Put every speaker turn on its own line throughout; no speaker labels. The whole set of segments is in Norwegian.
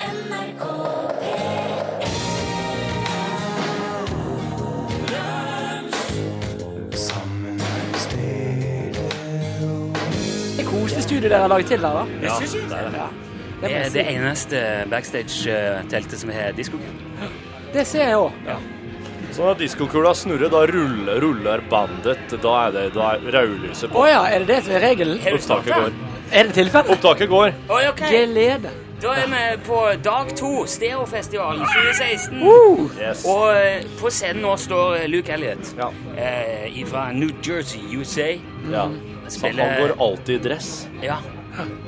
NRK
Det er koselig studio dere har laget til der, da.
Ja, det er det. Det er det eneste backstage-teltet som har diskokur.
Det ser jeg òg.
Så når diskokula snurrer, da ruller, ruller bandet. Da er det da er rødlyset
Å
på.
ja, er det det som er regelen?
Opptaket går.
Er det tilfellet?
Opptaket går.
Oi, ok.
Glede.
Da er vi på dag to, Stereofestivalen 2016.
Uh,
Yes.
Og eh, på scenen nå står Luke Elliot
Ja.
eh, fra New Jersey, USA.
Ja. Så han
Spiller-
går alltid i dress.
Ja.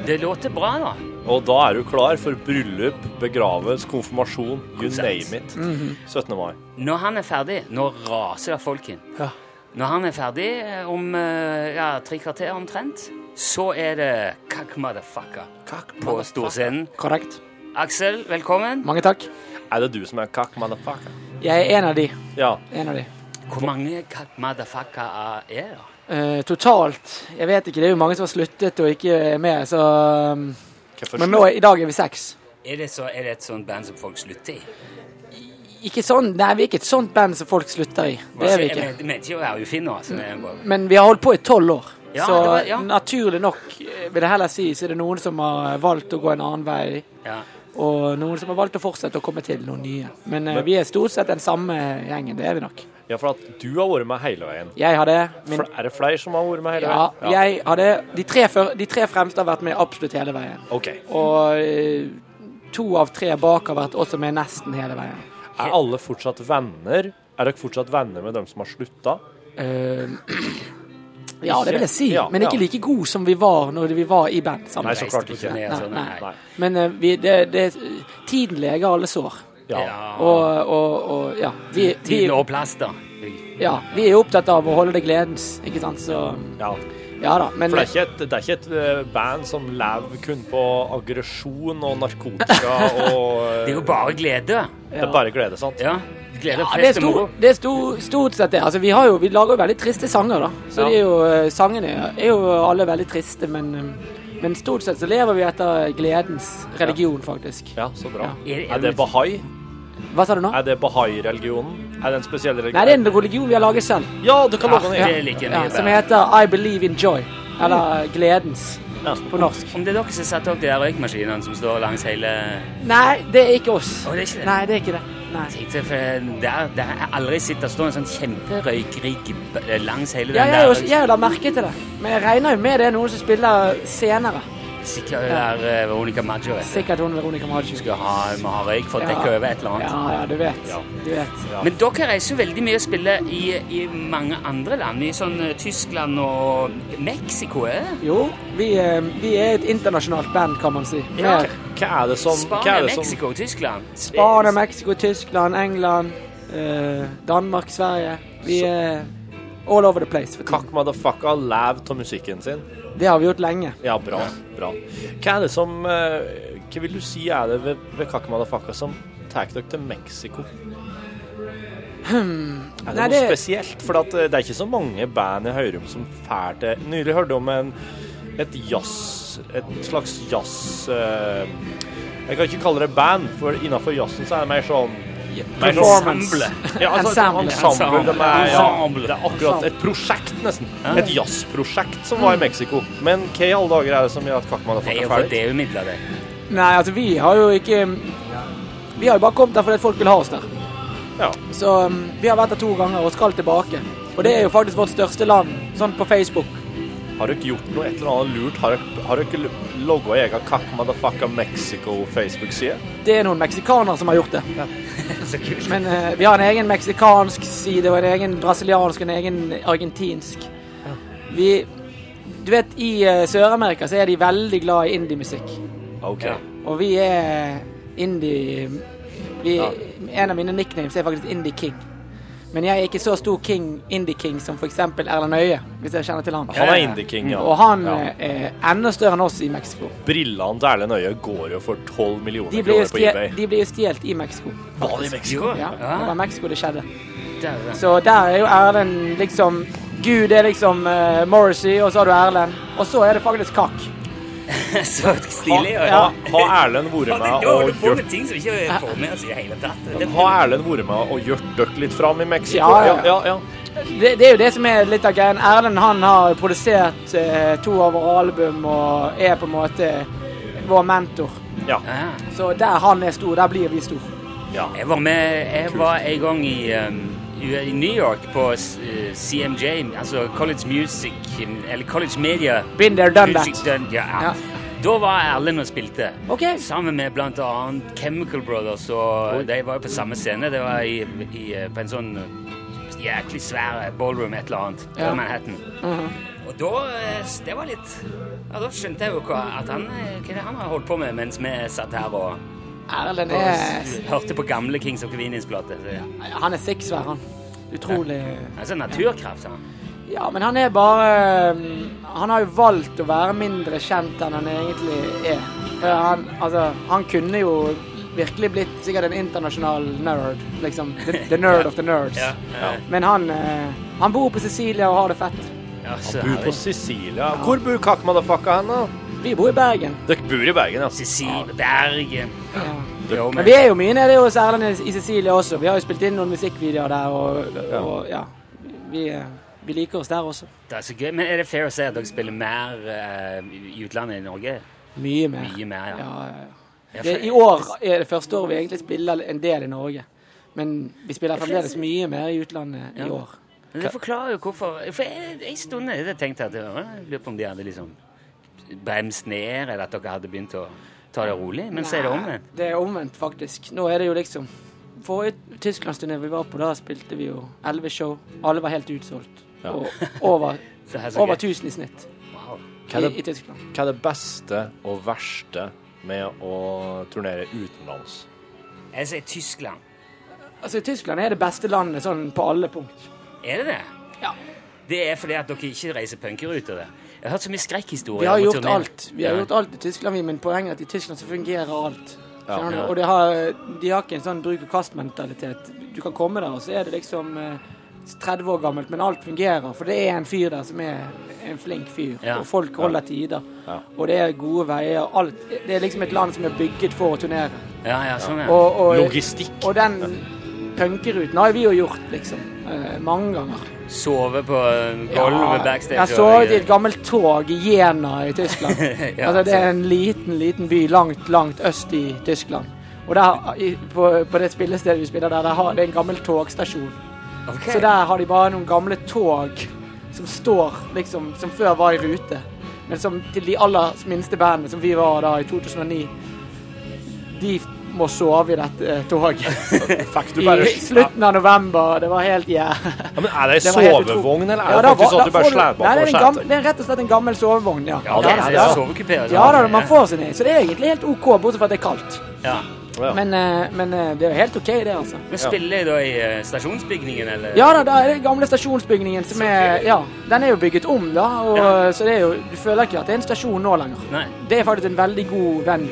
Det låter bra, da.
Og da er du klar for bryllup, begravelse, konfirmasjon, you name it. 17. mai.
Når han er ferdig, nå raser folk inn. Når han er ferdig, eh, om eh, ja, tre kvarter omtrent, så er det Kakk Motherfucker på storscenen.
korrekt.
Aksel, velkommen.
Mange takk.
Er det du som er kakk, motherfucker?
Jeg er en av de.
Ja.
En av de.
Hvor mange Kakk Motherfucker er det?
Eh, totalt Jeg vet ikke, det er jo mange som har sluttet og ikke er med, så um,
Hvorfor
Men nå, i dag er vi seks.
Er det, så, er det et sånt band som folk slutter i?
Ikke sånn Nei, vi er ikke et sånt band som folk slutter i. Det er vi ikke.
Altså, Jeg vet- vet ikke å være ufin nå. altså. Det er bare-
Men vi har holdt på i tolv år.
Ja,
så
det var- ja.
naturlig nok, eh, vil jeg heller si, så er det noen som har valgt å gå en annen vei.
Ja.
Og noen som har valgt å fortsette å komme til noen nye. Men eh, vi er stort sett den samme gjengen, det er vi nok.
Ja, for at du har vært med hele veien.
Jeg har det. Min,
Fl- Er det flere som har vært med hele
ja,
veien?
jeg har det. De tre, før, de tre fremste har vært med absolutt hele veien.
OK.
Og eh, to av tre bak har vært også med nesten hele veien.
Er alle fortsatt venner? Er dere fortsatt venner med dem som har slutta?
Eh, ja, det vil jeg si.
Ja,
Men ikke
ja.
like god som vi var når vi var i band sammen.
Nei, så klart ikke.
Nei, altså,
Nei,
nei.
nei. Men eh, vi, det, det, tiden leger alle sår.
Ja.
Ja.
Og, og, og ja. Vi, vi,
Tid og plass, da.
ja. vi er jo opptatt av å holde det gledens, ikke sant? Så
ja.
ja da. Men
For det er ikke et, det er ikke et eh, band som lever kun på aggresjon og narkotika og eh,
Det er jo bare glede.
Det er bare glede, sant?
Ja. Glede,
ja, det er,
fest og
stor,
moro.
det er stor, stort sett det. Altså, vi, har jo, vi lager jo veldig triste sanger, da. Så
Ja.
de er jo, eh, sangene er jo alle veldig triste, men, eh, men stort sett så lever vi etter gledens religion, faktisk.
Ja, så bra.
Ja. Er- er
Er det
det-
bahai?
Hva sa du nå?
Er det bahai-religionen? Er det en spesiell religion?
Nei, det er en religion vi har laget selv.
Ja, du kan logge den
Ja,
inn.
det liker jeg
Ja,
mye
som
bedre.
heter I Believe in Joy. Eller Gledens
Ja.
på norsk.
Om det er dere som setter opp de der røykmaskinene som står langs hele
Nei, det er ikke oss.
Å, det er ikke det?
Nei, det er ikke det. Nei.
Tenkte, for der, der har jeg aldri sett det står en sånn kjemperøykrigg b- langs hele den
Ja, jeg har jo
der
jeg har jo lagt merke til det. Men jeg regner jo med det er noen som spiller senere.
Sikkert der eh, Veronica Maggio vet du.
Sikkert hun Veronica Maggio.
skal ha, må ha røyk for å
Ja.
dekke over et eller annet.
Ja, ja, du vet.
Ja.
Du vet.
Men dere reiser jo veldig mye og spiller i, i mange andre land, i sånn eh, Tyskland og Mexico, er det?
Jo, vi, eh, vi er et internasjonalt band, kan man si.
Ja.
Mer.
Hva er det som hva
Spania,
er det som-
Mexico, Tyskland. Sp-
Spania, Mexico, Tyskland, England, eh, Danmark, Sverige. Vi er all over the place. For tiden.
Kakk motherfucka lev av musikken sin.
det har vi gjort lenge.
Ja, bra. bra. Hva er det som eh, Hva vil du si er det ved, ved Kakk motherfucka som tar dere til Mexico? Er det
Hmm. Nei,
noe
det-
spesielt? For at eh, det er ikke så mange band jeg hører om som drar til Nylig hørte jeg om en, et jazz Et slags jazz eh, Jeg kan ikke kalle det band, for innafor jazzen så er det mer sånn mer sånn-
Performance.
Ja, altså,
Ensemble.
ensemble. ensemble. De er, ja,
Ensemble.
det er akkurat et prosjekt, nesten. Et jazzprosjekt som var i Mexico. Men hva i alle dager er det som gjør at Kakman har
Det
fått
er
det
jo for
ferdig?
altså, det er jo midler, det.
Nei, altså, vi har jo ikke Vi har jo bare kommet der fordi at folk vil ha oss der.
Ja.
Så um, vi har vært der to ganger og skal tilbake. Og det er jo faktisk vårt største land, sånn på Facebook.
Har dere gjort noe et eller annet lurt? Har dere, har dere logga egen Kakk Motherfucker Mexico-Facebook-side?
Det er noen meksikanere som har gjort det.
Så kult.
Men eh, vi har en egen meksikansk side, og en egen brasiliansk, og en egen argentinsk. Vi Du vet, i eh, Sør-Amerika så er de veldig glad i indiemusikk.
OK.
Ja.
Og vi er indie vi,
Ja.
En av mine nicknames er faktisk Indie King. Men jeg er ikke så stor king, Indie King som f.eks. Erlend Øye, hvis jeg kjenner til han.
Han er indie-king, ja.
Og han
ja.
eh, er enda større enn oss i Mexico.
Brillene til Erlend Øye går jo for 12 millioner
De ble jo
kroner på eBay.
stje- de ble jo stjålet i Mexico.
Var det i Mexico?
Jo,
Ja,
ja.
Det var Mexico det skjedde.
Der, ja.
Så der er jo Erlend liksom Gud er liksom eh, Morrissey, og så har du Erlend. Og så er det faktisk Kakk.
Så stilig. Og,
Ha, ha Erlend vært
Ja, det-
med
da holder
og
du på
gjort
med ting som ikke får med oss i det hele tatt. Det-
ha Erlend vært med og gjort dere litt fram i Mexico?
Ja, ja.
ja, ja.
Det, det er jo det som er litt av greien. Erlend han har produsert eh, to av våre album og er på en måte vår mentor.
ja.
Ja.
Så der han er stor, der blir vi stor.
ja.
Jeg var med Jeg var en gang i, um, i- i New York på s- eh, CMJ, altså College Music Eller College Media.
Been there, done that.
Music done, ja.
Ja.
Da var Erlend og spilte.
Ok.
Sammen med blant annet Chemical Brothers. Og de var jo på samme scene. Det var i, i, eh, på en sånn eh, jæklig svær ballroom et eller annet på
Ja. Mhm.
Manhattan. Og da eh, s- Det var litt Ja, da skjønte jeg jo hva, at han, eh, hva er det han har holdt på med mens vi satt her og
Erlend
og
er
s- hørte på gamle Kings of Convenience-plater. så ja.
Han er sikksvær, han. Utrolig
Altså naturkraft, han.
Ja, men han er bare mm, Han har jo valgt å være mindre kjent enn han egentlig er. For han, altså, han kunne jo virkelig blitt sikkert en internasjonal nerd. Liksom. The, the nerd of the nerds.
Ja, ja.
Men han, eh, han bor på Sicilia og har det fett.
Ja, så
Bor på
herlig.
Sicilia. Hvor bor kakk motherfucka hen, da?
Vi bor i Bergen.
Dere bor i Bergen, ja.
Cecilie Bergen.
Ja.
Jo,
Men vi er jo mye nede hos Erlend i- i Sicilia også. Vi har jo spilt inn noen musikkvideoer der, og, og ja. Vi, eh, vi liker oss der også.
det er så gøy. Men er det fair å si at dere spiller mer eh, i utlandet enn i Norge?
Mye mer.
Mye mer, ja.
Ja, ja, ja.
Ja,
Det,
for-
I år er det første året vi egentlig spiller en del i Norge. Men vi spiller fremdeles mye mer i utlandet i
Ja.
år.
Men det forklarer jo hvorfor. For jeg- en stund hadde jeg tenkt at øh, jeg lurer på om de hadde liksom bremst ned, eller at dere hadde begynt å ta det rolig. Men så er det
Nei,
omvendt.
Det er omvendt, faktisk. Nå er det jo liksom Forrige Tysklandsturné vi var på, da spilte vi jo elleve show. Alle var helt utsolgt. Og over,
Så her er så
over
gøy.
1000 i snitt
Wow.
Hva
i,
er,
i
det,
Tyskland.
hva er det beste og verste med å turnere utenlands?
Jeg sier Tyskland.
Altså, Tyskland er det beste landet sånn på alle punkt.
Er det det?
Ja.
Det er fordi at dere ikke reiser punkruter. det. Jeg har hørt så mye skrekkhistorier.
Vi har
om å
gjort
turnere.
alt. Vi har
Ja.
gjort alt i Tyskland, vi, men poenget er at i Tyskland så fungerer alt. Skjønner du?
ja.
Og de har, de har ikke en sånn bruk-og-kast-mentalitet. Du kan komme der, og så er det liksom eh, 30 år gammelt, men alt fungerer. For det er en fyr der som er en flink fyr,
Ja.
og folk holder tider.
Ja.
Og det er gode veier. og Alt. Det er liksom et land som er bygget for å turnere.
Ja, ja, sånn, ja.
Og, og,
Logistikk.
og den punkeruten har vi jo gjort, liksom. eh, mange ganger.
Sove på eh, gulvet backstage.
Jeg
og-
sovet i et gammelt tog i Jena i Tyskland.
Ja,
altså, det er en liten, liten by langt, langt øst i Tyskland. Og der, i, på, på det spillestedet vi spiller der, der har, det er en gammel togstasjon.
Ok.
Så der har de bare noen gamle tog som står, liksom, som før var i rute. Men som til de aller minste bandene, som vi var da i 2009, de f- må sove i dette eh, toget.
Fikk du bare
I slutten av november. Det var helt jævlig.
Ja, men Er det ei
Det var helt
sovevogn, eller
Ja,
er det
da
faktisk
var-
sånn at du
da får
bare
du-
slår på
Nei, det
på
er en gammel-
setet?
Det er rett og slett en gammel sovevogn, ja.
Ja, det er, det
ja.
er sovekupé. altså.
Ja da, man får seg ned. Så det er egentlig helt OK, bortsett fra at det er kaldt.
Ja.
Ja.
Men, eh, men eh, det er jo helt OK, det, altså.
Men spiller jeg da i eh, stasjonsbygningen, eller?
Ja da, da er det den gamle stasjonsbygningen som er Ja, den er jo bygget om, da. Og,
Ja.
Så det er jo Du føler ikke at det er en stasjon nå lenger.
Nei.
Det er faktisk en veldig god venn.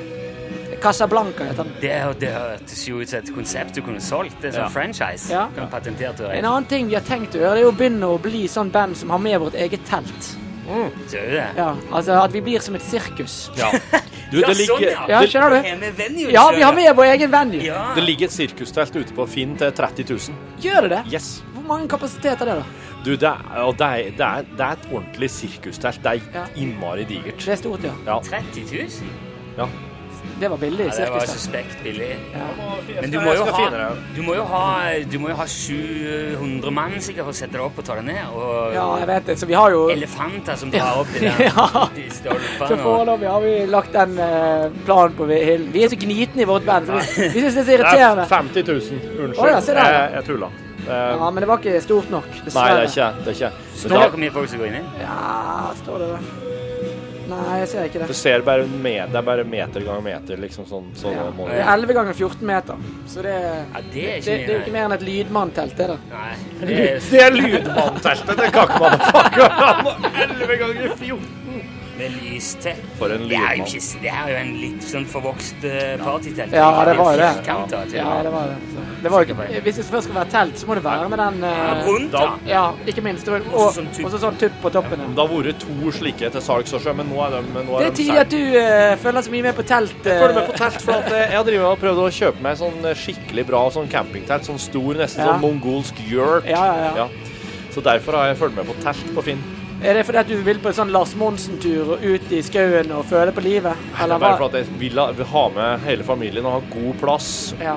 Casablanca heter den.
Det, er- det hørtes jo ut som et konsept du kunne solgt. Det er sånn
Ja.
franchise.
Ja.
Du kan patentere til
En
deg.
annen ting vi har tenkt å gjøre, det er jo å begynne å bli sånn band som har med vårt eget telt.
Ser Mm. du det?
Ja, altså at vi blir som et sirkus.
Ja. Du, det ligger,
sånn,
Ja,
det,
skjønner du?
Har vi venue
Ja,
selv,
vi har med vår egen venue.
Ja.
det ligger et sirkustelt ute på Finn til 30 000.
Gjør det det?
Yes.
Hvor mange kapasiteter er det, da?
Du, det er, og det er, det er, det er et ordentlig sirkustelt. Det
Ja.
er innmari digert.
Det er stort, ja.
Ja.
30 000?
ja.
Det var billig.
Ja, det var
sirkus.
suspekt billig.
Ja.
Men du må, jo
Jeg skal
ha,
finne det.
du, må jo ha, du må jo ha 700 mann sikkert for å sette det opp og ta det ned. Og
Ja, jeg vet det. Så vi har jo
elefanter som drar opp de der
Ja.
de
så
stolpene. og-
foreløpig har vi lagt den eh, planen på hyllen. Vi er så gnitne i vårt band, så vi, vi syns det er så
Det er
irriterende.
50 000. Unnskyld.
Å, ja, se der, ja.
jeg, jeg tulla. Eh,
Ja, Men det var ikke stort nok,
nei, det
dessverre.
er ikke det. Er ikke. Men
Står det
da-
hvor mye folk som går inn i?
Ja, står det det? Nei, jeg ser ikke
Du
det.
ser bare en me- det er bare meter ganger meter, liksom sånn. sånn
Ja.
må
Det
det-
er 11 ganger 14 meter, så det er
Ja, det er
det, det er jo
ikke
ikke
mye.
mer enn et lydmanntelt, det der.
Nei, det er
Det er lydmannteltet til Kakk Motherfucker! 11 ganger 14.
med lys til.
For en
Det er jo
lydmann.
ikke s- Det er jo en litt sånn forvokst eh, partytelt.
Ja, det var jo det.
Firkanta, til
Ja,
og med.
det var det. Så. det var jo ikke, hvis det først skal være telt, så må det være med den
Ja,
eh,
Rundt, da.
Ja, ikke minst. Og og-
Også sånn tupp.
og så sånn tupp på toppen.
Det
Ja.
har vært to slike til salgs også, men nå er de nå
Det
er
er
de
tid
solgt.
at du eh, følger så mye med på telt. eh.
Følg med på telt, for at eh, jeg har drivet og prøvd å kjøpe meg sånn eh, skikkelig bra sånn campingtelt. Sånn stor, nesten
Ja.
sånn mongolsk yurt.
Ja, ja, ja.
Så derfor har jeg fulgt med på telt på Finn.
Er det fordi at du vil på en sånn Lars Monsen-tur og ut i skauen og føle på livet? Eller
Bare for
hva?
at jeg vil ha, vil ha med hele familien og ha god plass
Ja.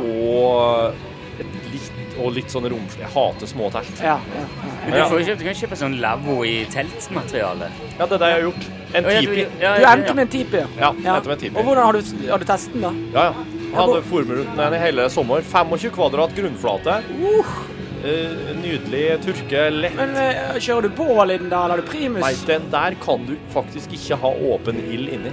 og et litt, og litt sånn romslig Jeg hater små telt.
Ja, ja, ja.
Men du, får jo kjøpt, du kan kjøpe sånn lavvo i teltmateriale.
Ja, det er det jeg har gjort. En
Å, ja,
tipi.
ja,
Du
ja,
endte
ja.
med en tipi, ja.
Ja, endte med en tipi.
Og hvordan har du, har du testet den, da?
Ja, ja. Jeg hadde formruten i hele sommer. 25 kvadrat grunnflate. Eh, Nydelig tørke, lett.
Men eh, Kjører du bål i den, da? Eller har du primus?
Nei, den der kan du faktisk ikke ha åpen ild inni.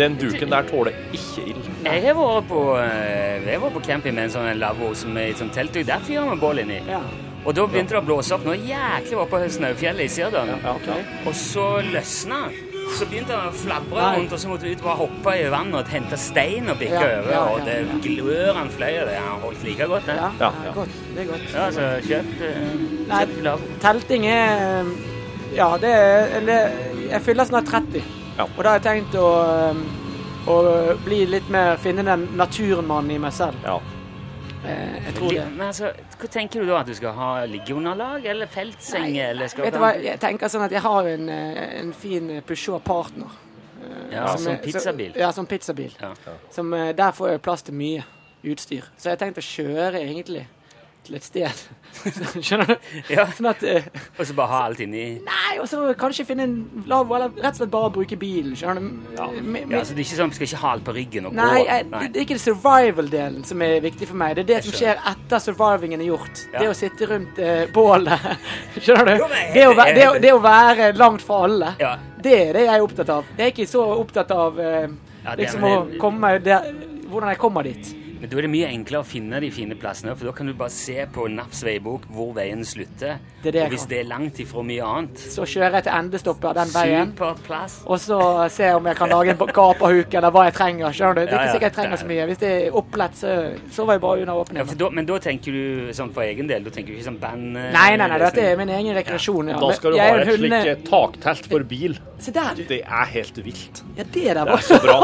Den duken der tåler ikke ild.
Jeg har vært på, eh, jeg har vært på camping med en sånn lavvo som er i et sånt telt. og Der fyrer vi bål inni.
Ja.
Og da begynte det å blåse opp noe jæklig oppe på Snaufjellet i Sirdal.
Ja, ja.
Og så løsna han. Så begynte han å flabbre
Nei.
rundt, og så måtte vi ut og bare hoppe i vannet og hente stein og bikke
Ja,
over.
ja,
Og
ja,
det
ja.
glør han fløy, og det har holdt like godt, det.
Ja,
Ja,
Ja,
ja,
ja.
Godt. Det er godt.
så kjøp, eh,
Nei.
kjøp lav.
Telting er um, Ja, det er eller, Jeg fyller snart 30.
Ja.
Og da har jeg tenkt å, um, å bli litt mer Finne den naturmannen i meg selv.
ja.
Eh, Jeg tror det.
Men altså, hva tenker du da? At du skal ha liggeunderlag eller feltseng? eller skal
Vet du hva, jeg tenker sånn at jeg har en, eh, en fin Peugeot partner.
Ja,
som
som
er-
pizzabil.
så- Ja, som pizzabil.
Ja.
Som, eh, der får jeg plass til mye utstyr. Så jeg har tenkt å kjøre egentlig til et sted. Skjønner du?
Ja.
Sånn at eh,
Og så bare ha alt inni
Nei, og så kanskje finne en lavvo, eller rett og slett bare bruke bilen. Skjønner du? Mi- mi-
ja, så det er ikke sånn, Du skal ikke ha alt på ryggen og
Nei,
gå?
jeg, det det er ikke survival-delen som er viktig for meg. Det er det som skjer etter survivingen er gjort.
Ja.
Det å sitte rundt eh, bålet. Skjønner du?
Jo, men-
Det å, væ- det, å, det å være langt fra alle.
Ja.
Det er det jeg er opptatt av. Jeg er ikke så opptatt av eh,
Ja, det er
liksom å
vel-
komme meg der, hvordan jeg kommer dit.
Men da er det mye enklere å finne de fine plassene, for da kan du bare se på NAFs veibok hvor veien slutter.
Det er det jeg
og hvis
kan.
det er langt ifra mye annet
Så kjører jeg til endestoppet av den veien.
Superplass.
Og så ser jeg om jeg kan lage en gaperhuk eller hva jeg trenger. skjønner du? Det er
Ja, ja.
ikke sikkert jeg trenger så mye. Hvis det er opplett, så sover jeg bare under
Ja, for
åpningen.
da, men da tenker du sånn for egen del? Da tenker du ikke sånn band... eh,
Nei, nei, nei, dette er
løsning.
min egen rekreasjon. Ja.
Da skal du
Jeg
ha
er en
et
hunde-
slikt eh, taktelt for bil.
Se der, du.
Det er helt vilt.
Ja, det der
Det
var
er så bra.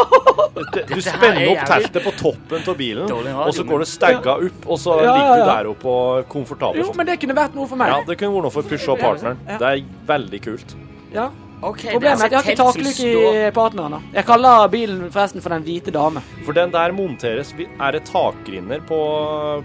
Du
Dette her
spenner
er
opp
jævlig-
teltet på toppen av bilen,
Dårlig radio,
og så
men-
går det stagga opp, og så
Ja, ja,
ligger du
ja.
der oppe og komfortabel.
Jo, men det kunne vært noe for
Ja,
meg.
det kunne vært noe for Peugeot partneren. Det er veldig kult.
Ja.
Ok, det er
Problemet er at jeg har
altså
ikke
telt som
taklykke
står-
i partneren. da. Jeg kaller bilen forresten for Den hvite dame.
For den der monteres vi- Er det takgrinder på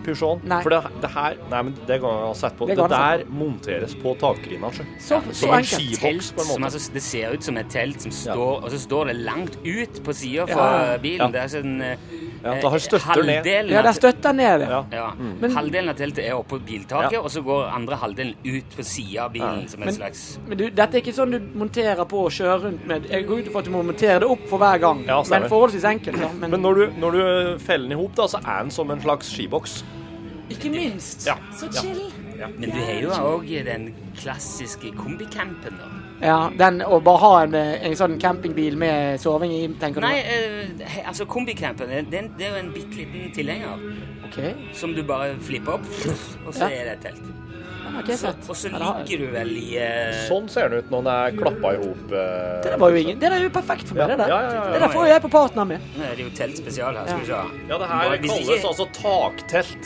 Peugeoten?
Nei.
For det, det her Nei, men det kan jeg ha sett på.
Det
Det,
kan jeg
der monteres på takgrinda, sjø.
Så, så
som en
enkelt.
skive.
Telt,
boks, på en måte.
som altså, det ser ut som et telt som
Ja.
står, og så står det langt ut på sida fra
Ja.
bilen.
Ja.
Det er sånn eh,
Ja, da har støtter ned.
halvdelen
Ja,
av
der støtter jeg ned.
Ja.
Ja.
Ja.
Men-
halvdelen av teltet er oppå biltaket,
Ja.
og så går andre halvdelen ut på sida av bilen som en
Men-
slags
Men du, dette er ikke sånn du monterer på og kjører rundt med. Jeg går ut ifra at du må montere det opp for hver gang.
Ja, stemmer.
men forholdsvis enkelt. da. Men,
Men når du, når du feller den i hop, da, så er den som en slags skiboks.
ikke minst.
Ja.
Så chill.
Men du har jo òg den klassiske kombicampen, da.
Ja, den Å bare ha en, en sånn campingbil med soving i, tenker du?
Nei, eh, he- altså kombicampen den, den, det er jo en bitte liten tilhenger
OK.
som du bare flipper opp, og
Ja.
så er det et telt.
Den har ikke jeg
Så,
sett.
og så
Ja, det har jeg.
ligger du vel i eh,
Sånn ser den ut når den er klappa i hop. eh,
Det der var jo ingen Det der er jo perfekt for meg,
Ja.
det der.
Ja, ja, ja, ja.
Det der får jo jeg på partneren min.
Nå er det jo telt spesial her, skal vi se.
Ja, det her
Hvis
kalles
ikke-
altså taktelt.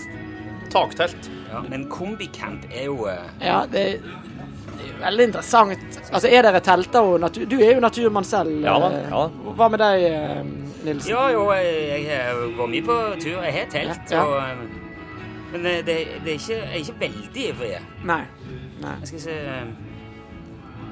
Taktelt.
Ja, men kombicamp er jo eh,
Ja, det er det er veldig interessant. Altså, er dere telter og natur... Du er jo naturmann selv.
Ja da,
eh,
ja da.
og Hva med deg, eh, Nilsen?
Ja, jo, eh, jeg jeg har gått mye på tur. Jeg har telt.
Ja, ja.
Og, eh, men eh, det, det er ikke, jeg er ikke veldig ivrig. Jeg
Nei. Nei.
skal se eh,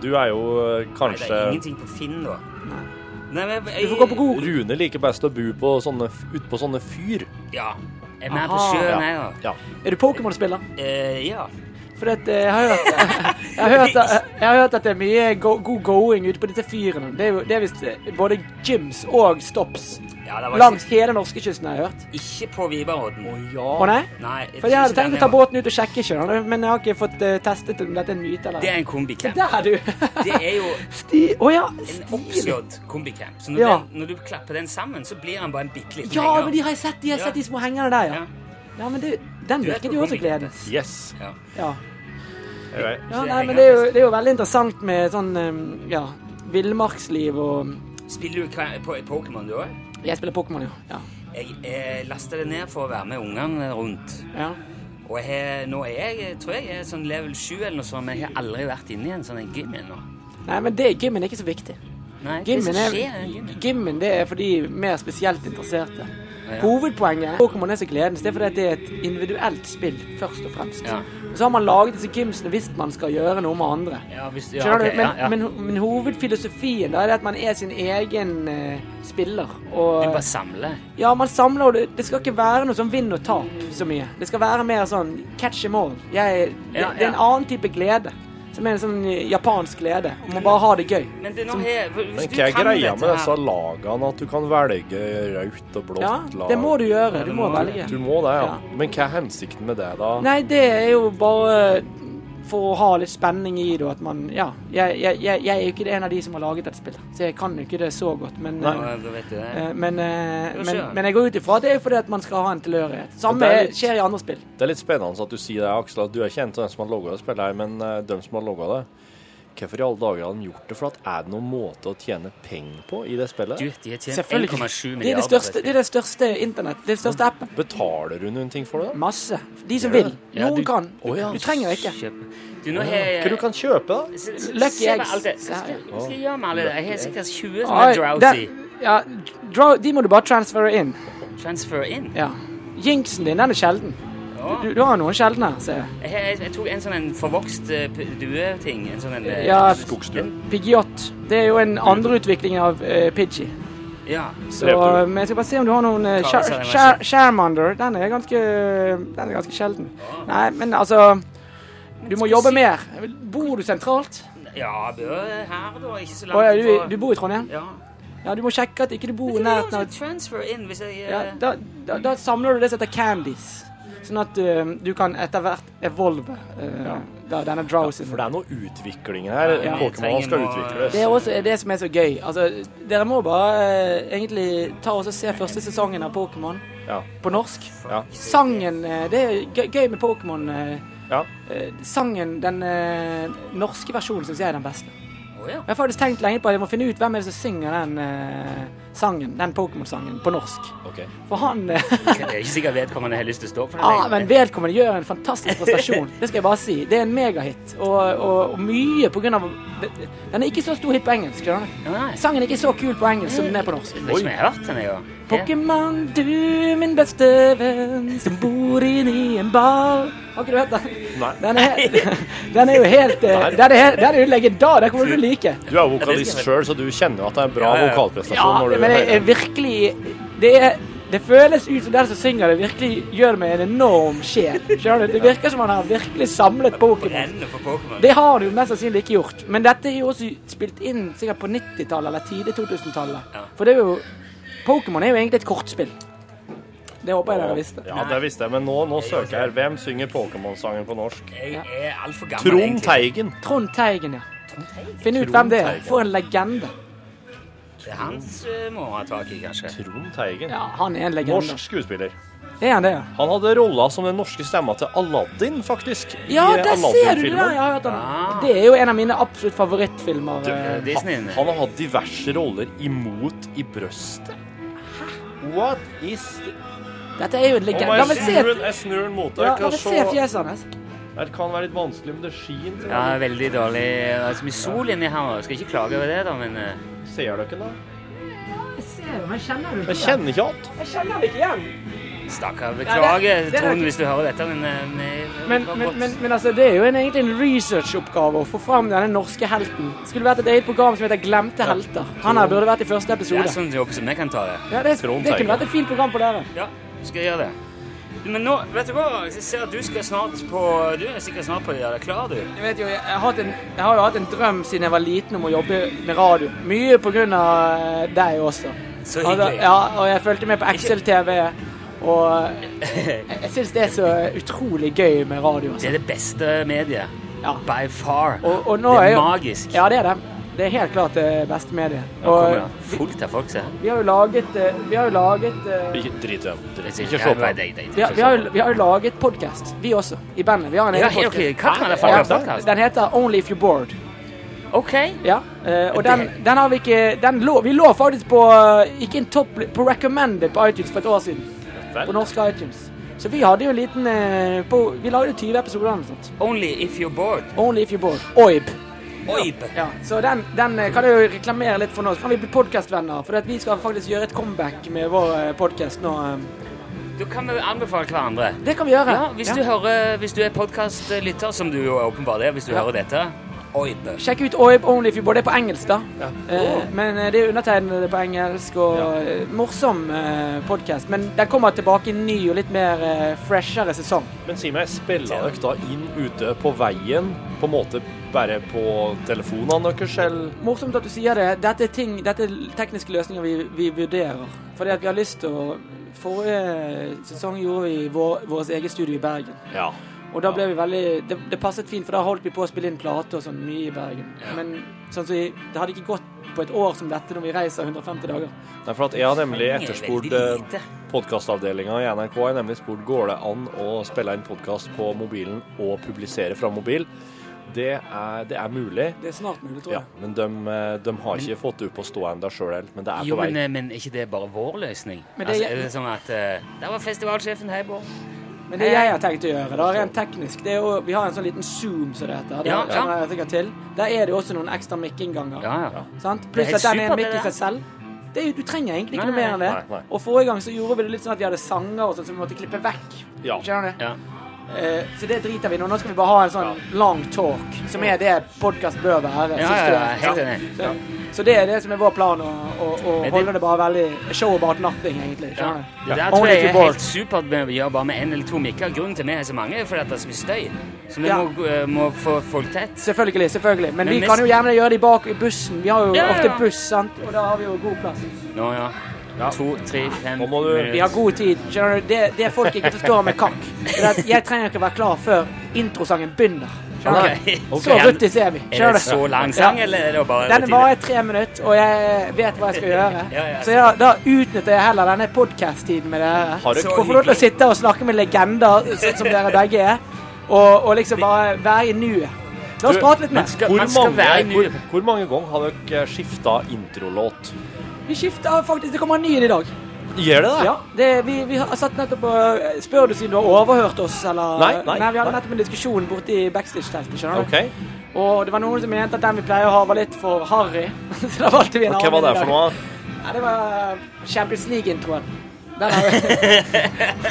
Du er jo eh,
Nei, det er
kanskje
ingenting på Finn, da.
Nei.
Nei, men jeg,
Du får gå på Google.
Rune liker best å bo på sånne, ut på sånne fyr.
Ja. Jeg er mer på
Aha.
sjøen, jeg,
Ja.
da.
ja.
Er du Pokémon-spiller?
Eh, ja.
For det, at, eh, jeg, har hørt, jeg, har hørt, at- jeg har hørt at det er mye go, god going ute på disse fyrene. Det er, jo- det er visst eh, både gyms og stops.
Ja, det var
Langs hele norskekysten, har jeg hørt.
ikke, ikke på Viberodden.
Å nei?
Nei, jeg
For jeg
tror
hadde tenkt
ikke den
å ta
er-
båten ut og sjekke, skjønner du. Men jeg har ikke fått eh, testet om dette er en myte
Det
eller
er en kombicamp.
Der, du!
Det er jo
Sti... Å ja,
en
stil.
oppslått kombicamp. Så når,
Ja.
den, når du klapper den sammen, så blir han bare en bitte liten
Ja,
henger.
men de har jeg sett, de har jeg
Ja.
sett de små hengerne der, ja.
Ja.
Ja, men det, den
Du vet
virket
hvor
jo også
kombi-
gledens.
Yes.
Ja.
Ja.
Anyway.
ja
Så det
nei, men
henger
det er, jo,
fast.
det er jo veldig interessant med sånn eh, ja, villmarksliv og
Spiller du hva- på Pokémon, du òg?
Jeg spiller Pokémon, jo. Ja.
Jeg eh, lasta det ned for å være med ungene rundt.
ja.
Og jeg, har- nå er jeg, jeg tror jeg er sånn level 7 eller noe sånt, men jeg har aldri vært inne i en sånn en gym ennå.
Nei, men det, gymmen er ikke så viktig.
Nei, hva er det
Gymmen
som
er,
skjer i den gymmen?
gymmen det er for de mer spesielt interesserte.
Ja.
Hovedpoenget Pokémon er så gledens, det er fordi at det er et individuelt spill, først og fremst.
Ja.
Og Så har man laget disse gymsene hvis man skal gjøre noe med andre.
Ja, hvis, ja,
Skjønner
ok,
du? Men,
ja, ja.
Men, ho- men hovedfilosofien da, er det at man er sin egen eh, spiller.
Du
Og
bare samler.
ja, man samler, og det, det skal ikke være noe sånn vinn og tap så mye. Det skal være mer sånn catch them all. Jeg, det,
Ja,
det er en
ja.
annen type glede. Som er en sånn eh, japansk glede. Om å bare ha det gøy.
Men det nå er Hvis
Men
du
hva er
kan
greia
dette
med disse
her
lagene, at du kan velge rødt og blått
Ja,
lag?
det må du gjøre.
Ja,
Du
det
må
må du.
velge.
Du må det, ja.
Ja.
Men hva er hensikten med det, da?
Nei, det er jo bare eh, for å ha litt spenning i det, og at man Ja. Jeg, jeg, jeg, jeg er jo ikke en av de som har laget dette spillet, så jeg kan jo ikke det så godt, men eh,
Ja, da vet du det.
eh, men, eh,
Det
men,
skjer.
men jeg går ut ifra at det er fordi at man skal ha en tilhørighet. Samme
Det er litt-
skjer i andre spill.
Det er litt spennende at du sier det, Aksel. At du er ikke en av dem som har logga det spillet her, men eh, dem som har logga det. Hvorfor i alle dager har de gjort det? For at er det noen måte å tjene penger på i det spillet?
Du, de har tjent
Selvfølgelig.
1,7
Det er det
milliarder.
største, det er det største internett, det er den største appen.
Betaler du noen ting for det?
Masse. De som
Gjør
vil.
det?
Ja,
Noen
du-
kan.
Å ja.
Du trenger ikke.
Du, nå har
Hva du
jeg
kan kjøpe, da?
Se- se-
Lucky
se med
eggs.
alt det. Hva skal hva skal jeg gjøre med alle det? Jeg har sikkert 20 som
Oi,
er drowsy.
den- ja, draw, de må du bare transfere inn.
Transfer in.
Ja. Jinxen din, den er sjelden.
Ja.
Du, du har noen sjeldne, ser jeg.
Jeg, jeg, jeg tok en sånn en forvokst eh, p- dueting. En sånn en eh,
Ja,
Skogsdue.
Pidgeot. Det er jo en andreutvikling av uh, Pidgey.
ja.
Så, eh,
Drepte
men jeg skal bare se om du har noen eh,
Klar,
Shar-
sa jeg meg
Shar-
selv.
Charmander. Den er ganske, den er ganske sjelden. Nei, men altså Du må
skal
jobbe
si-
mer. Bor du sentralt?
ja Bø er her, da. Ikke så
Å
langt
ja, du, du bor i Trondheim?
Ja.
Ja, du må sjekke at ikke du bor i
Men det er jo
nærheten
også
av
transfer in hvis jeg eh,
ja, da, da, da samler du det som heter candies. Sånn at eh, du kan etter hvert evolve eh, da, denne drowsyen.
For det er noe utvikling her.
Ja, vi
Pokémon skal
trenger noe-
utvikles.
Det er også det som er så gøy. Altså, dere må bare eh, egentlig ta og så se første sesongen av Pokémon
Ja.
på norsk.
ja.
Sangen eh, Det er gøy, gøy med Pokémon. eh,
ja.
eh, sangen, den eh, norske versjonen, syns jeg er den beste.
Å, ja.
Jeg har faktisk tenkt lenge på at jeg må finne ut hvem er det som synger den eh, sangen, den Pokémon-sangen, på norsk.
OK.
For han eh,
Det er ikke sikkert vedkommende har lyst til å stå for det.
ah, Men vedkommende gjør en fantastisk prestasjon. Det skal jeg bare si. Det er en megahit. Og, og, og mye på grunn av Den er ikke så stor hit på engelsk. skjønner du?
Ja, nei.
Sangen er ikke så kul på engelsk som den er på norsk.
Det er ikke som jeg har hørt den, jeg òg.
Pokémon, du min beste venn, som bor inni en ball. Har ikke du hørt den?
Nei.
Den er, den er jo helt eh, Den er, helt- den er jo legendar. Den kommer du til å like.
Du er vokalist sjøl, så du kjenner at det er en bra
Ja, ja, ja.
vokalprestasjon.
Ja,
når du
men jeg
hører
er virkelig Det er det føles ut som den som synger det, virkelig gjør det med en enorm sjel. Skjønner du? Det virker som han har virkelig samlet Pokémon.
Brennende for Pokémon.
Det har du mest sannsynlig ikke gjort, men dette er jo også spilt inn sikkert på 90-tallet eller tidlig 2000-tallet.
Ja.
For det er jo Pokémon er jo egentlig et kortspill. Det håper jeg dere visste.
Ja, det visste jeg, men nå, nå søker jeg her. Hvem synger Pokémon-sangen på norsk?
Jeg er altfor gammel,
Trond
egentlig.
Teigen.
Trond Teigen, ja.
Trond Teigen?
Finn ut
Trond
hvem det er.
Teigen.
For en legende.
Det er hans eh, må ha tak i, kanskje.
Trond Teigen.
Ja, han er en legende.
Norsk skuespiller.
Er han det, ja?
Han hadde rolla som den norske stemma til Aladdin, faktisk. i eh,
Ja, der ser du det!
Aladdin-filmen.
der, Jeg har hørt han.
Ah.
Det er jo en av mine absolutt favorittfilmer. eh,
Eh, Disney.
Han, han har hatt diverse roller imot i brøstet. What is the...
Dette er jo en legende. La meg se,
jeg, snur, den- jeg snur den mot
ja,
deg.
la
Ja,
meg se
så...
fjeset hans.
Det kan være litt vanskelig, men det skinner.
Ja, veldig dårlig. Det er så mye sol inni her. nå. Skal ikke klage over det, da, men eh,
Ser dere det?
Jeg ser det, men jeg kjenner det
Jeg kjenner ikke alt.
Jeg kjenner det ikke igjen.
Stakkar.
Ja,
Beklager,
det- det er
Trond,
ikke-
hvis du hører dette, men eh, vi-
Men,
vi-
men, men, men altså, det er jo en, egentlig en researchoppgave å få fram denne norske helten. Det skulle vært et eget program som heter Glemte helter. Han her burde vært i første
Det er
episode.
sånn jobb som jeg kan ta det.
Ja, det, det
Trond
kunne
Teigen.
vært et fint program for dere.
Ja, skal jeg gjøre det. Du, Men nå, vet du hva, jeg ser at du skal snart på Du er sikkert snart på å gjøre deg klar, du.
Jeg vet jo, jeg, har hatt en, jeg har jo hatt en drøm siden jeg var liten om å jobbe med radio. Mye på grunn av eh, deg også.
Så
Altså,
hyggelig.
ja, og jeg fulgte med på Excel TV, og jeg, jeg syns det er så utrolig gøy med radio.
Det
Altså.
er det beste mediet.
Ja.
By far.
Og, og nå
det er
jo-
magisk.
Ja, det er det. Det er helt klart det beste mediet.
Nå kommer
Og
det fullt av folk, se.
vi har jo laget eh, Vi har jo laget eh,
Ikke drit i dem.
Jeg
Drit.
sier- Ja,
Ikke se på
nei,
dem.
det- det- det-
vi har, vi har, jo- vi har jo laget podkast, vi også, i bandet. Vi har en
Ja,
egen
helt
podcast.
ok. Hva kan det
Ja,
faktisk
ja.
podcast?
Den heter Only If You're Bored.
OK.
Ja, eh, og den,
Det-
den har vi ikke den lå, Vi lå faktisk på eh, Ikke en topp på recommended på iTunes for et år siden.
Vel.
På norske iTunes. Så vi hadde jo en liten eh, på, Vi lagde 20 episoder eller noe sånt.
Only if you're bored.
Only If You're Bored. OIB.
Oib.
Ja, så den, den eh, kan jeg jo reklamere litt for nå. Så kan vi bli podkastvenner. For at vi skal faktisk gjøre et comeback med vår podkast nå. eh.
Da kan vi anbefale hverandre.
Det kan vi gjøre.
Ja, hvis, Du hører, hvis du er podkastlytter, som du jo åpenbart er hvis du
Ja.
hører dette Oib.
Sjekk ut OIB Only If You're Bored. Det er på engelsk, da.
Ja.
Eh, Men eh, det er undertegnede på engelsk og eh, morsom podkast. Men den kommer tilbake i en ny og litt mer eh, freshere sesong.
Men si meg, spiller dere da inn ute på veien? På en måte bare på telefonene deres, eller?
Morsomt at du sier det. Dette er, ting, dette er tekniske løsninger vi, vi vurderer. Fordi at vi har lyst til å Forrige eh, sesong gjorde vi vår, vårt eget studio i Bergen.
Ja.
Og da ble vi veldig det, det passet fint, for da holdt vi på å spille inn plate og sånn mye i Bergen. Men sånn som vi, det hadde ikke gått på et år som dette når vi reiser 150 dager.
Nei, for at jeg har nemlig etterspurt
Veldig lite.
podkastavdelinga i NRK. Jeg har nemlig spurt går det an å spille inn podkast på mobilen og publisere fra mobil. Det er, det er mulig.
Det er snart mulig, tror
Ja,
jeg.
men de, eh, de har ikke fått det opp å stå ennå sjøl helt, men det er
Jo,
på vei.
men, eh, men er ikke det bare vår løsning?
Men det-
altså, er det sånn at eh, Der var festivalsjefen, hei, Bård.
Men det
Eh,
jeg har tenkt å gjøre, da, rent teknisk det er jo, Vi har en sånn liten Zoom som det heter. Det
Ja, ja.
kjenner jeg sikkert til. Der er det jo også noen ekstra mikkinnganger.
Ja, ja.
Sant?
Det er
Pluss
helt
at den er en
supert, det
mikk i
der.
seg selv. Det er, jo- du trenger egentlig ikke
Nei,
noe mer enn det.
nei, nei.
Og forrige gang så gjorde vi det litt sånn at vi hadde sanger og sånn som vi måtte klippe vekk.
Ja.
Skjønner du?
ja.
Eh, så det driter vi i nå. Nå skal vi bare ha en sånn lang talk, som er det podkast bør være.
Ja,
synes
ja,
du?
ja, helt enig.
Så, så det er det som er vår plan, å, å, å
Men det-
holde det bare veldig show about nothing, egentlig.
Ja.
Skjønner du?
Det der tror
Only
jeg
if
er
you're bored.
helt supert med å gjøre bare med én eller to mikker. Grunnen til at vi har så mange, er fordi at det er så mye støy. Så vi
Ja.
må, eh, må få folk tett.
Selvfølgelig, selvfølgelig. Men,
Men
vi
hvis-
kan jo gjerne gjøre det bak i bussen. Vi har jo
Ja, ja, ja.
ofte buss, sant? og da har vi jo god plass.
Nå, ja. To, tre, fem
Nå må du-
Vi har god tid. skjønner du? Det, det folk ikke forstår med kakk, er at jeg trenger ikke være klar før introsangen begynner. skjønner du?
Ok. Ok.
Så ruttis er vi.
Er
skjønner
det
du?
så lang sang,
Ja.
eller er det bare
Den varer i tre minutter, og jeg vet hva jeg skal gjøre.
Ja, ja.
Så ja, da utnytter jeg heller denne podkast-tiden med dere.
Har dere-
Så Får få lov til å sitte og snakke med legender, sånn som dere begge er, og, og liksom bare være i nuet. La oss
Du,
prate litt
man
mer.
skal,
Hvor
man skal
mange,
være i
hvor,
nuet.
hvor mange ganger har dere skifta introlåt?
Vi skifter faktisk. Det kommer en ny inn i dag.
Gjør det det?
Ja, det, vi, vi har satt nettopp og Spør du siden du har overhørt oss, eller
Nei, nei,
vi hadde
nei.
nettopp en diskusjon borte i backstage-teltet, skjønner
OK.
du? Og det var noen som mente at den vi pleier å ha, var litt for harry, så da valgte vi en
Hva var
annen.
det for noe?
Nei, det var eh, Champions League-introen. Den har vi,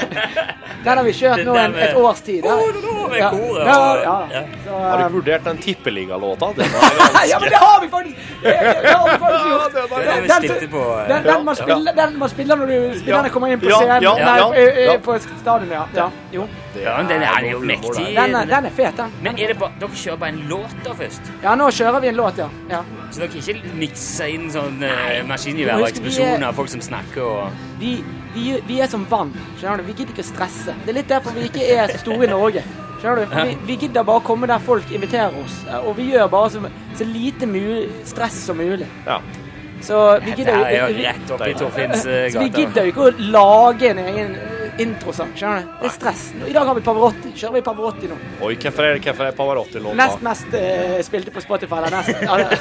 den har vi kjørt nå en, et års tid.
Å, det var med koret,
ja,
og-
ja, ja.
ja.
Så,
Har dere vurdert den tippeligalåta? Den er
eh, ja, men det har vi faktisk! Det, det har vi faktisk gjort.
Ja,
Det er det vi
Den-
stilte på. eh,
Den, den, man spiller, den man spiller når du spillerne kommer inn på
Ja,
scenen.
ja,
nei,
ja,
ø, ø,
ja.
på stadionet, ja. ja. Jo.
Ja, men den er jo
god humor,
mektig.
det.
Den er, den er fet, den.
Men er det bare, dere kjører bare en låt da først?
Ja, nå kjører vi en låt, ja. ja.
Så dere ikke mikser inn sånn uh,
Du
maskingevær
må huske vi
og
er-
eksplosjoner og folk som snakker og
Vi, vi, vi er som vann. skjønner du? Vi gidder ikke å stresse. Det er litt derfor vi ikke er så store i Norge. Skjønner du? For vi, vi gidder bare å komme der folk inviterer oss. Og vi gjør bare så, så lite mu- stress som mulig.
Ja.
Så vi
Dette
gidder
er jo
vi-
rett opp i Torfinns eh,
Så vi
gata.
gidder jo ikke å lage en egen eh, introsang. skjønner du? Det er stress. I dag har vi Pavarotti. Kjører vi Pavarotti nå?
Oi, hvorfor er, hvorfor er Pavarotti-låta?
Nest mest eh, spilte på Spotify. Eller nest. Ja, det-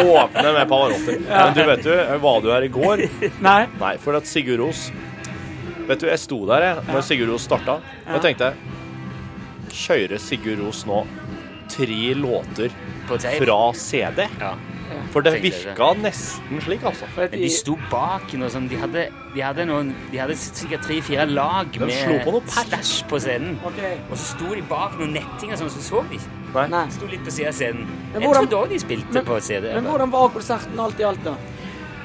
Åpne med Pavarotti. Men du vet jo, eh, var du her i går?
Nei.
Nei, for at Sigurd Ros Vet du, jeg sto der jeg, når Sigurd Ros starta, og jeg tenkte Kjører Sigurd Ros nå tre låter
På tape.
fra CD?
Ja.
For det
Tenkte jeg
virka nesten slik, altså.
For at
Men de sto bak noe sånn De hadde, de hadde, noen, de hadde sikkert tre-fire lag
slo på noe
med
pers.
stæsj på scenen.
Ok.
Og så sto de bak noen netting og sånn, så så de ikke.
Nei.
Sto litt på siden av scenen.
Men
Jeg
hvordan-
trodde òg de spilte
Men-
på CD.
Men hvordan var konserten alt i alt, da?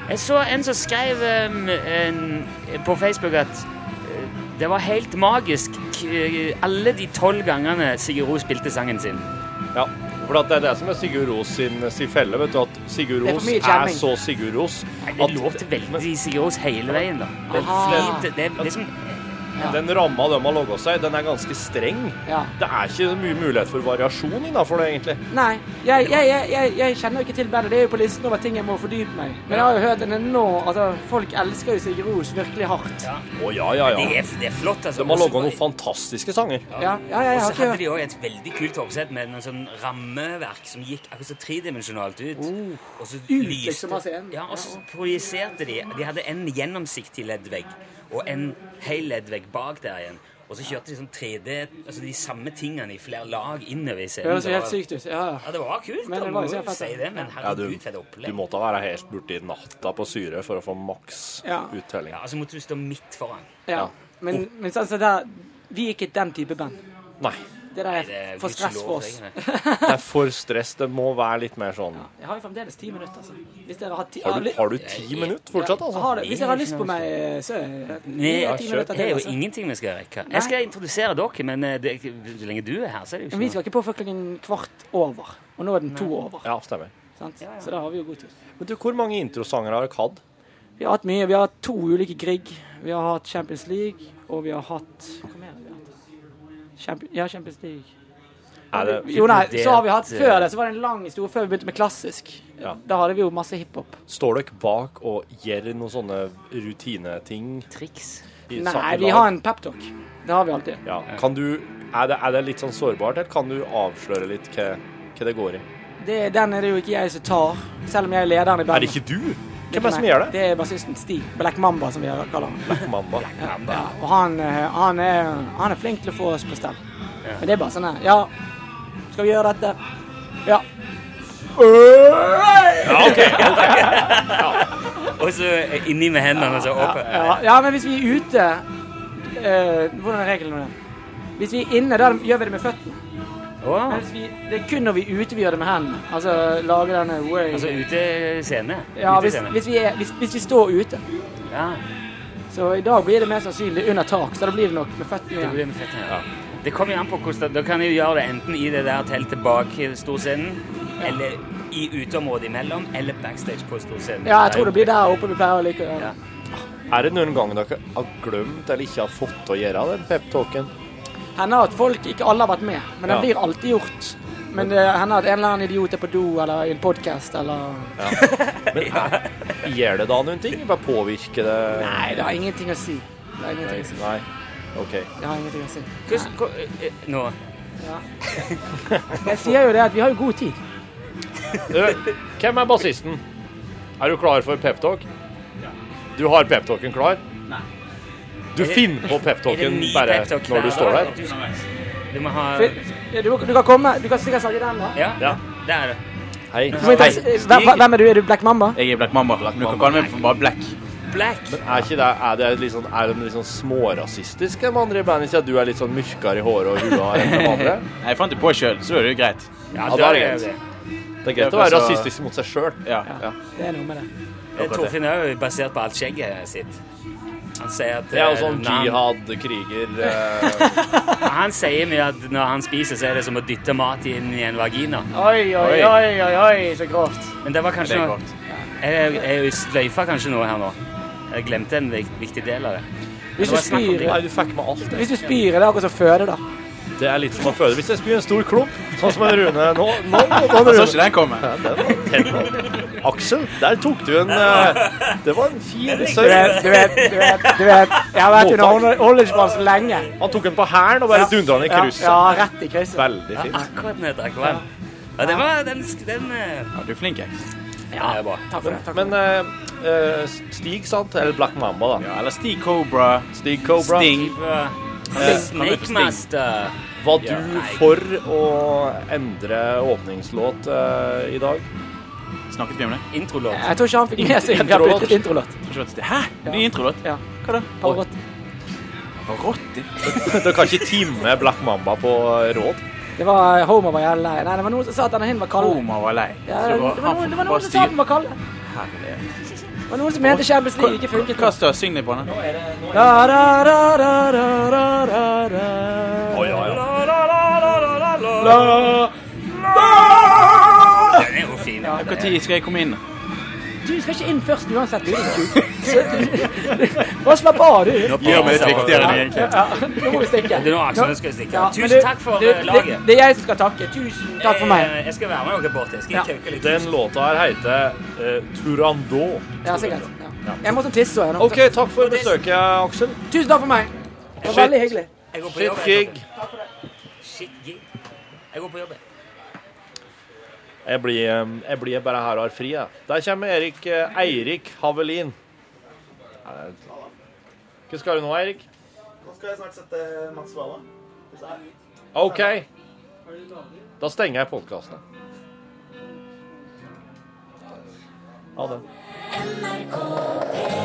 Jeg så en som skrev um, en, på Facebook at eh, det var helt eh, magisk k alle de tolv gangene Sigurd Ros spilte sangen sin.
Ja. For at det er det som er Sigurd Ros sin, sin felle, vet du. At Sigurd
Det er for
Ros
mye
er
jamming.
så Sigurd Ros
Nei, det
at
låter veldig Sigurd hele veien, da. Det er
Aha.
fint. Det er liksom
den ramma de har laga seg, den er ganske streng.
Ja.
Det er ikke så mye mulighet for variasjon innafor det, egentlig.
Nei, jeg, jeg, jeg, jeg, jeg kjenner jo ikke til bandet. Det er jo på listen over ting jeg må fordype meg Men jeg har jo hørt en enorm Altså, folk elsker jo Sigurd Ros virkelig hardt.
Ja.
Å ja, ja,
Det
ja.
er, det er flott, altså.
De har laga
Også-
noen fantastiske sanger.
Ja, ja, ja jeg
Og
har
så
ikke
hadde
hørt
de òg et veldig kult oppsett med noe sånn rammeverk som gikk akkurat så tredimensjonalt ut. og så lyste-
liksom, av scenen.
Ja,
Ja,
og så
og-
projiserte de De hadde en gjennomsiktig leddvegg og en hel leddvegg bak der igjen. Og så kjørte de sånn 3D, altså de samme tingene i flere lag innover i
Det
scenen.
høres jo helt
Det var-
sykt ut. Ja, ja.
Ja, det var kult.
Men
da,
det var jo
må
så
jo
fett,
si
da.
det, men
Ja, du,
herregud, for et
du
opplegg.
måtte være helt borti natta på syre for å få maks
Ja.
uttelling.
Ja, altså måtte du stå midt foran.
ja. Men, men sånn som der Vi er ikke den type band.
Nei.
Det der
Det er
er for stress for oss.
gudskjelov,
Det er for stress. Det må være litt mer sånn
Jeg har jo fremdeles ti minutter, altså. Hvis dere har ti
Har du, har du ti minutter fortsatt,
Jeg
altså?
har det. Hvis dere har lyst på meg, så er det
ja,
ti
kjør.
minutter
Det er
til.
jo
Altså.
ingenting vi skal rekke.
Nei.
Jeg skal introdusere dere, men eh, det, så lenge du er her, så er det
Men
jo
vi
ikke noe.
skal ikke på før klokken kvart over. Og nå er den to over.
Ja, stemmer.
Sant? Så da har vi jo god tid.
Men du, hvor mange introsanger har dere hatt?
Vi har hatt mye. Vi har hatt to ulike krig. Vi har hatt Champions League, og vi har hatt Hva mer har vi hatt? Champi- ja, Champions League.
Er det
Jo, nei, så har vi hatt
inkludert, eh,
Før det så var det en lang historie før vi begynte med klassisk.
Ja.
Da hadde vi jo masse hiphop.
Står dere bak og gjør noen sånne rutineting?
Triks.
i
Nei,
sa- i
vi
lag?
har en peptalk. Det har vi alltid.
ja. Kan du er det, er det litt sånn sårbart, eller kan du avsløre litt hva, hva det går i?
Det, den er det jo ikke jeg som tar, selv om jeg er lederen i
Er
bandet.
det ikke du?
Det
Hvem er det som gjør det?
Det er bassisten Stig. Black Mamba, som vi kaller han.
Black Mamba.
Ja, og han, eh, han, er, han er flink til å få oss på stell. Men det er bare sånn her Ja, skal vi gjøre dette? Ja.
Og så eh, inni med hendene så opp.
Ja, ja men hvis vi er ute eh, Hvordan er reglene om det? Hvis vi er inne, da gjør vi det med føttene.
Åh,
Men hvis vi, det er kun når vi er ute vi gjør det med hendene. Altså lage denne way.
altså ute scene.
ja,
Ute
hvis,
scene.
hvis, vi er, hvis, hvis vi står ute.
Ja,
Så i dag blir det mest sannsynlig under tak, så da blir det nok med føttene
det
igjen.
blir med fett her. Det kommer jo an på hvordan, da kan jeg jo gjøre det enten i det der teltet bak i storscenen, eller i uteområdet imellom, eller backstage på storscenen.
Ja, jeg tror det blir der oppe vi pleier å like å gjøre det.
Ja.
Er det noen gang dere har glemt eller ikke har fått til å gjøre den pep-talken?
Hender at folk, ikke alle har vært med, men
Ja.
den blir alltid gjort. Men det hender at en eller annen idiot er på do eller i en podkast eller
Men er- gjør det da noen ting? Bare påvirker det
Nei, det har ingenting å si. Det har ingenting å si.
Nei. OK.
Det har ingenting å si.
Hvordan, hvor- eh, eh, nå,
Jeg sier jo det at vi har jo god tid.
Du, hvem er bassisten? Er du klar for pep-talk? Du har pep-talken klar?
Nei.
Du
Er det-
finner på
er det
pep-talken
ny
bare
pep-talk hver
når du står
dag?
der?
Du, du må ha...
Du, du kan komme. Du kan sikkert snakke den, da.
Ja,
Ja.
det er det.
Hei.
Du må ikke-
Hei, Stig.
Hvem hvem er du? Er du Black Mamba?
Jeg er Black Mamba. men du kan kalle meg for bare Black.
Black.
Er ikke det, er det litt sånn, er de litt sånn smårasistiske, de andre i bandet? Siden du er litt sånn mørkere i håret og hua enn de andre?
Jeg fant det på sjøl, så er det jo greit.
Ja,
Ja,
da
det er
det.
greit. Det er greit å være
Altså-
rasistisk mot seg sjøl.
Ja.
Det er noe med det.
Eh, Torfinn er jo basert på alt skjegget sitt. Han sier at
Det er jo
eh,
sånn
når han-
jihad-kriger eh,
Han sier mye at når han spiser, så er det som å dytte mat inn i en vagina.
Oi, oi,
Oi.
oi, oi, oi, så grovt.
Men det var kanskje
Det er
noe
godt.
Jeg, jeg, jeg sløyfa kanskje noe her nå. Jeg glemte en vik- viktig del av det.
Hvis
Det
du
var snakk om
spyr,
Nei, du fikk med alt.
hvis du spyr, er det akkurat som føde, da.
Det er litt som å føde. Hvis jeg spyr en stor klump, sånn som en Rune nå, nå, nå,
Jeg så
Rune.
ikke den komme.
Aksel, der tok du en eh, Det var en fin
Du
sørg.
vet, du vet, du vet, du vet. Jeg har vært under oljeball så lenge.
Han tok en på hælen og bare dundra den i
Ja,
krysset.
ja, rett i krysset.
Veldig
Ja,
fint.
akkurat ned til akkurat. Ja, det var den, sk- den eh,
Ja, du er flink, jeg.
Ja, det er bra.
Takk for det. Takk for
Men eh, eh, Stig, sant? Eller Black Mamba, da.
Ja, eller Stig Cobra.
Stig Cobra.
Sting.
Eh,
Sting.
Snake Master.
Var
Ja,
du
nei.
for å endre åpningslåt eh, i dag?
Snakket vi om det?
Introlåt.
det. Jeg tror ikke han fikk med seg at vi har
Introlåt.
byttet introlåt.
Jeg tror ikke det- Hæ? Ny introlåt?
Ja.
Hva da?
Parrot.
Hva rått? det-
Dere kan ikke time Black Mamba på råd.
Det var eh, Homer var jævlig lei. Nei, det var noen som sa at denne hin var kald.
Homer var lei.
Ja,
Så
det var
han får
noen, det var
bare
noen som sa
styre-
den var kald.
Herlighet.
Det var noen som mente Champions League ikke funket.
Hva står syng deg på den?
Da, da, da, da, da, da, da, da.
ja,
La,
ja.
la, la, la, la, la, la.
La, la,
Når tid skal jeg komme inn?
Du skal ikke inn først uansett. Du, du. Så- Bare slapp av, du.
Gjør meg litt viktigere enn jeg egentlig.
Ja, nå må vi stikke.
Det er nå Aksel skal stikke.
Ja, men
Tusen
du-
takk for
du,
eh, laget. Eh,
Det, det er jeg som skal takke. Tusen takk for meg.
Jeg, jeg skal være med dere bort. Jeg skal
Ja.
kauke litt.
Den låta her heter eh, Turandot.
Ja, sikkert. Ja. Jeg måtte tisse òg.
OK, takk for besøket, Aksel.
Tusen takk for meg. Det var
Shit.
veldig hyggelig.
Jeg går på
Shit
jobb. jeg,
gig.
Torfinn. Shit gig. Jeg går på jobb. jeg.
Jeg blir, eh, jeg blir bare her og har fri, jeg. Der kommer Erik eh, Eirik Havelin. Ja, det er- Hva skal du nå, Eirik?
Nå skal jeg snart sette Mats Wala. Hvis jeg-
OK. Da stenger jeg podkasten. Ha det.
NRK P3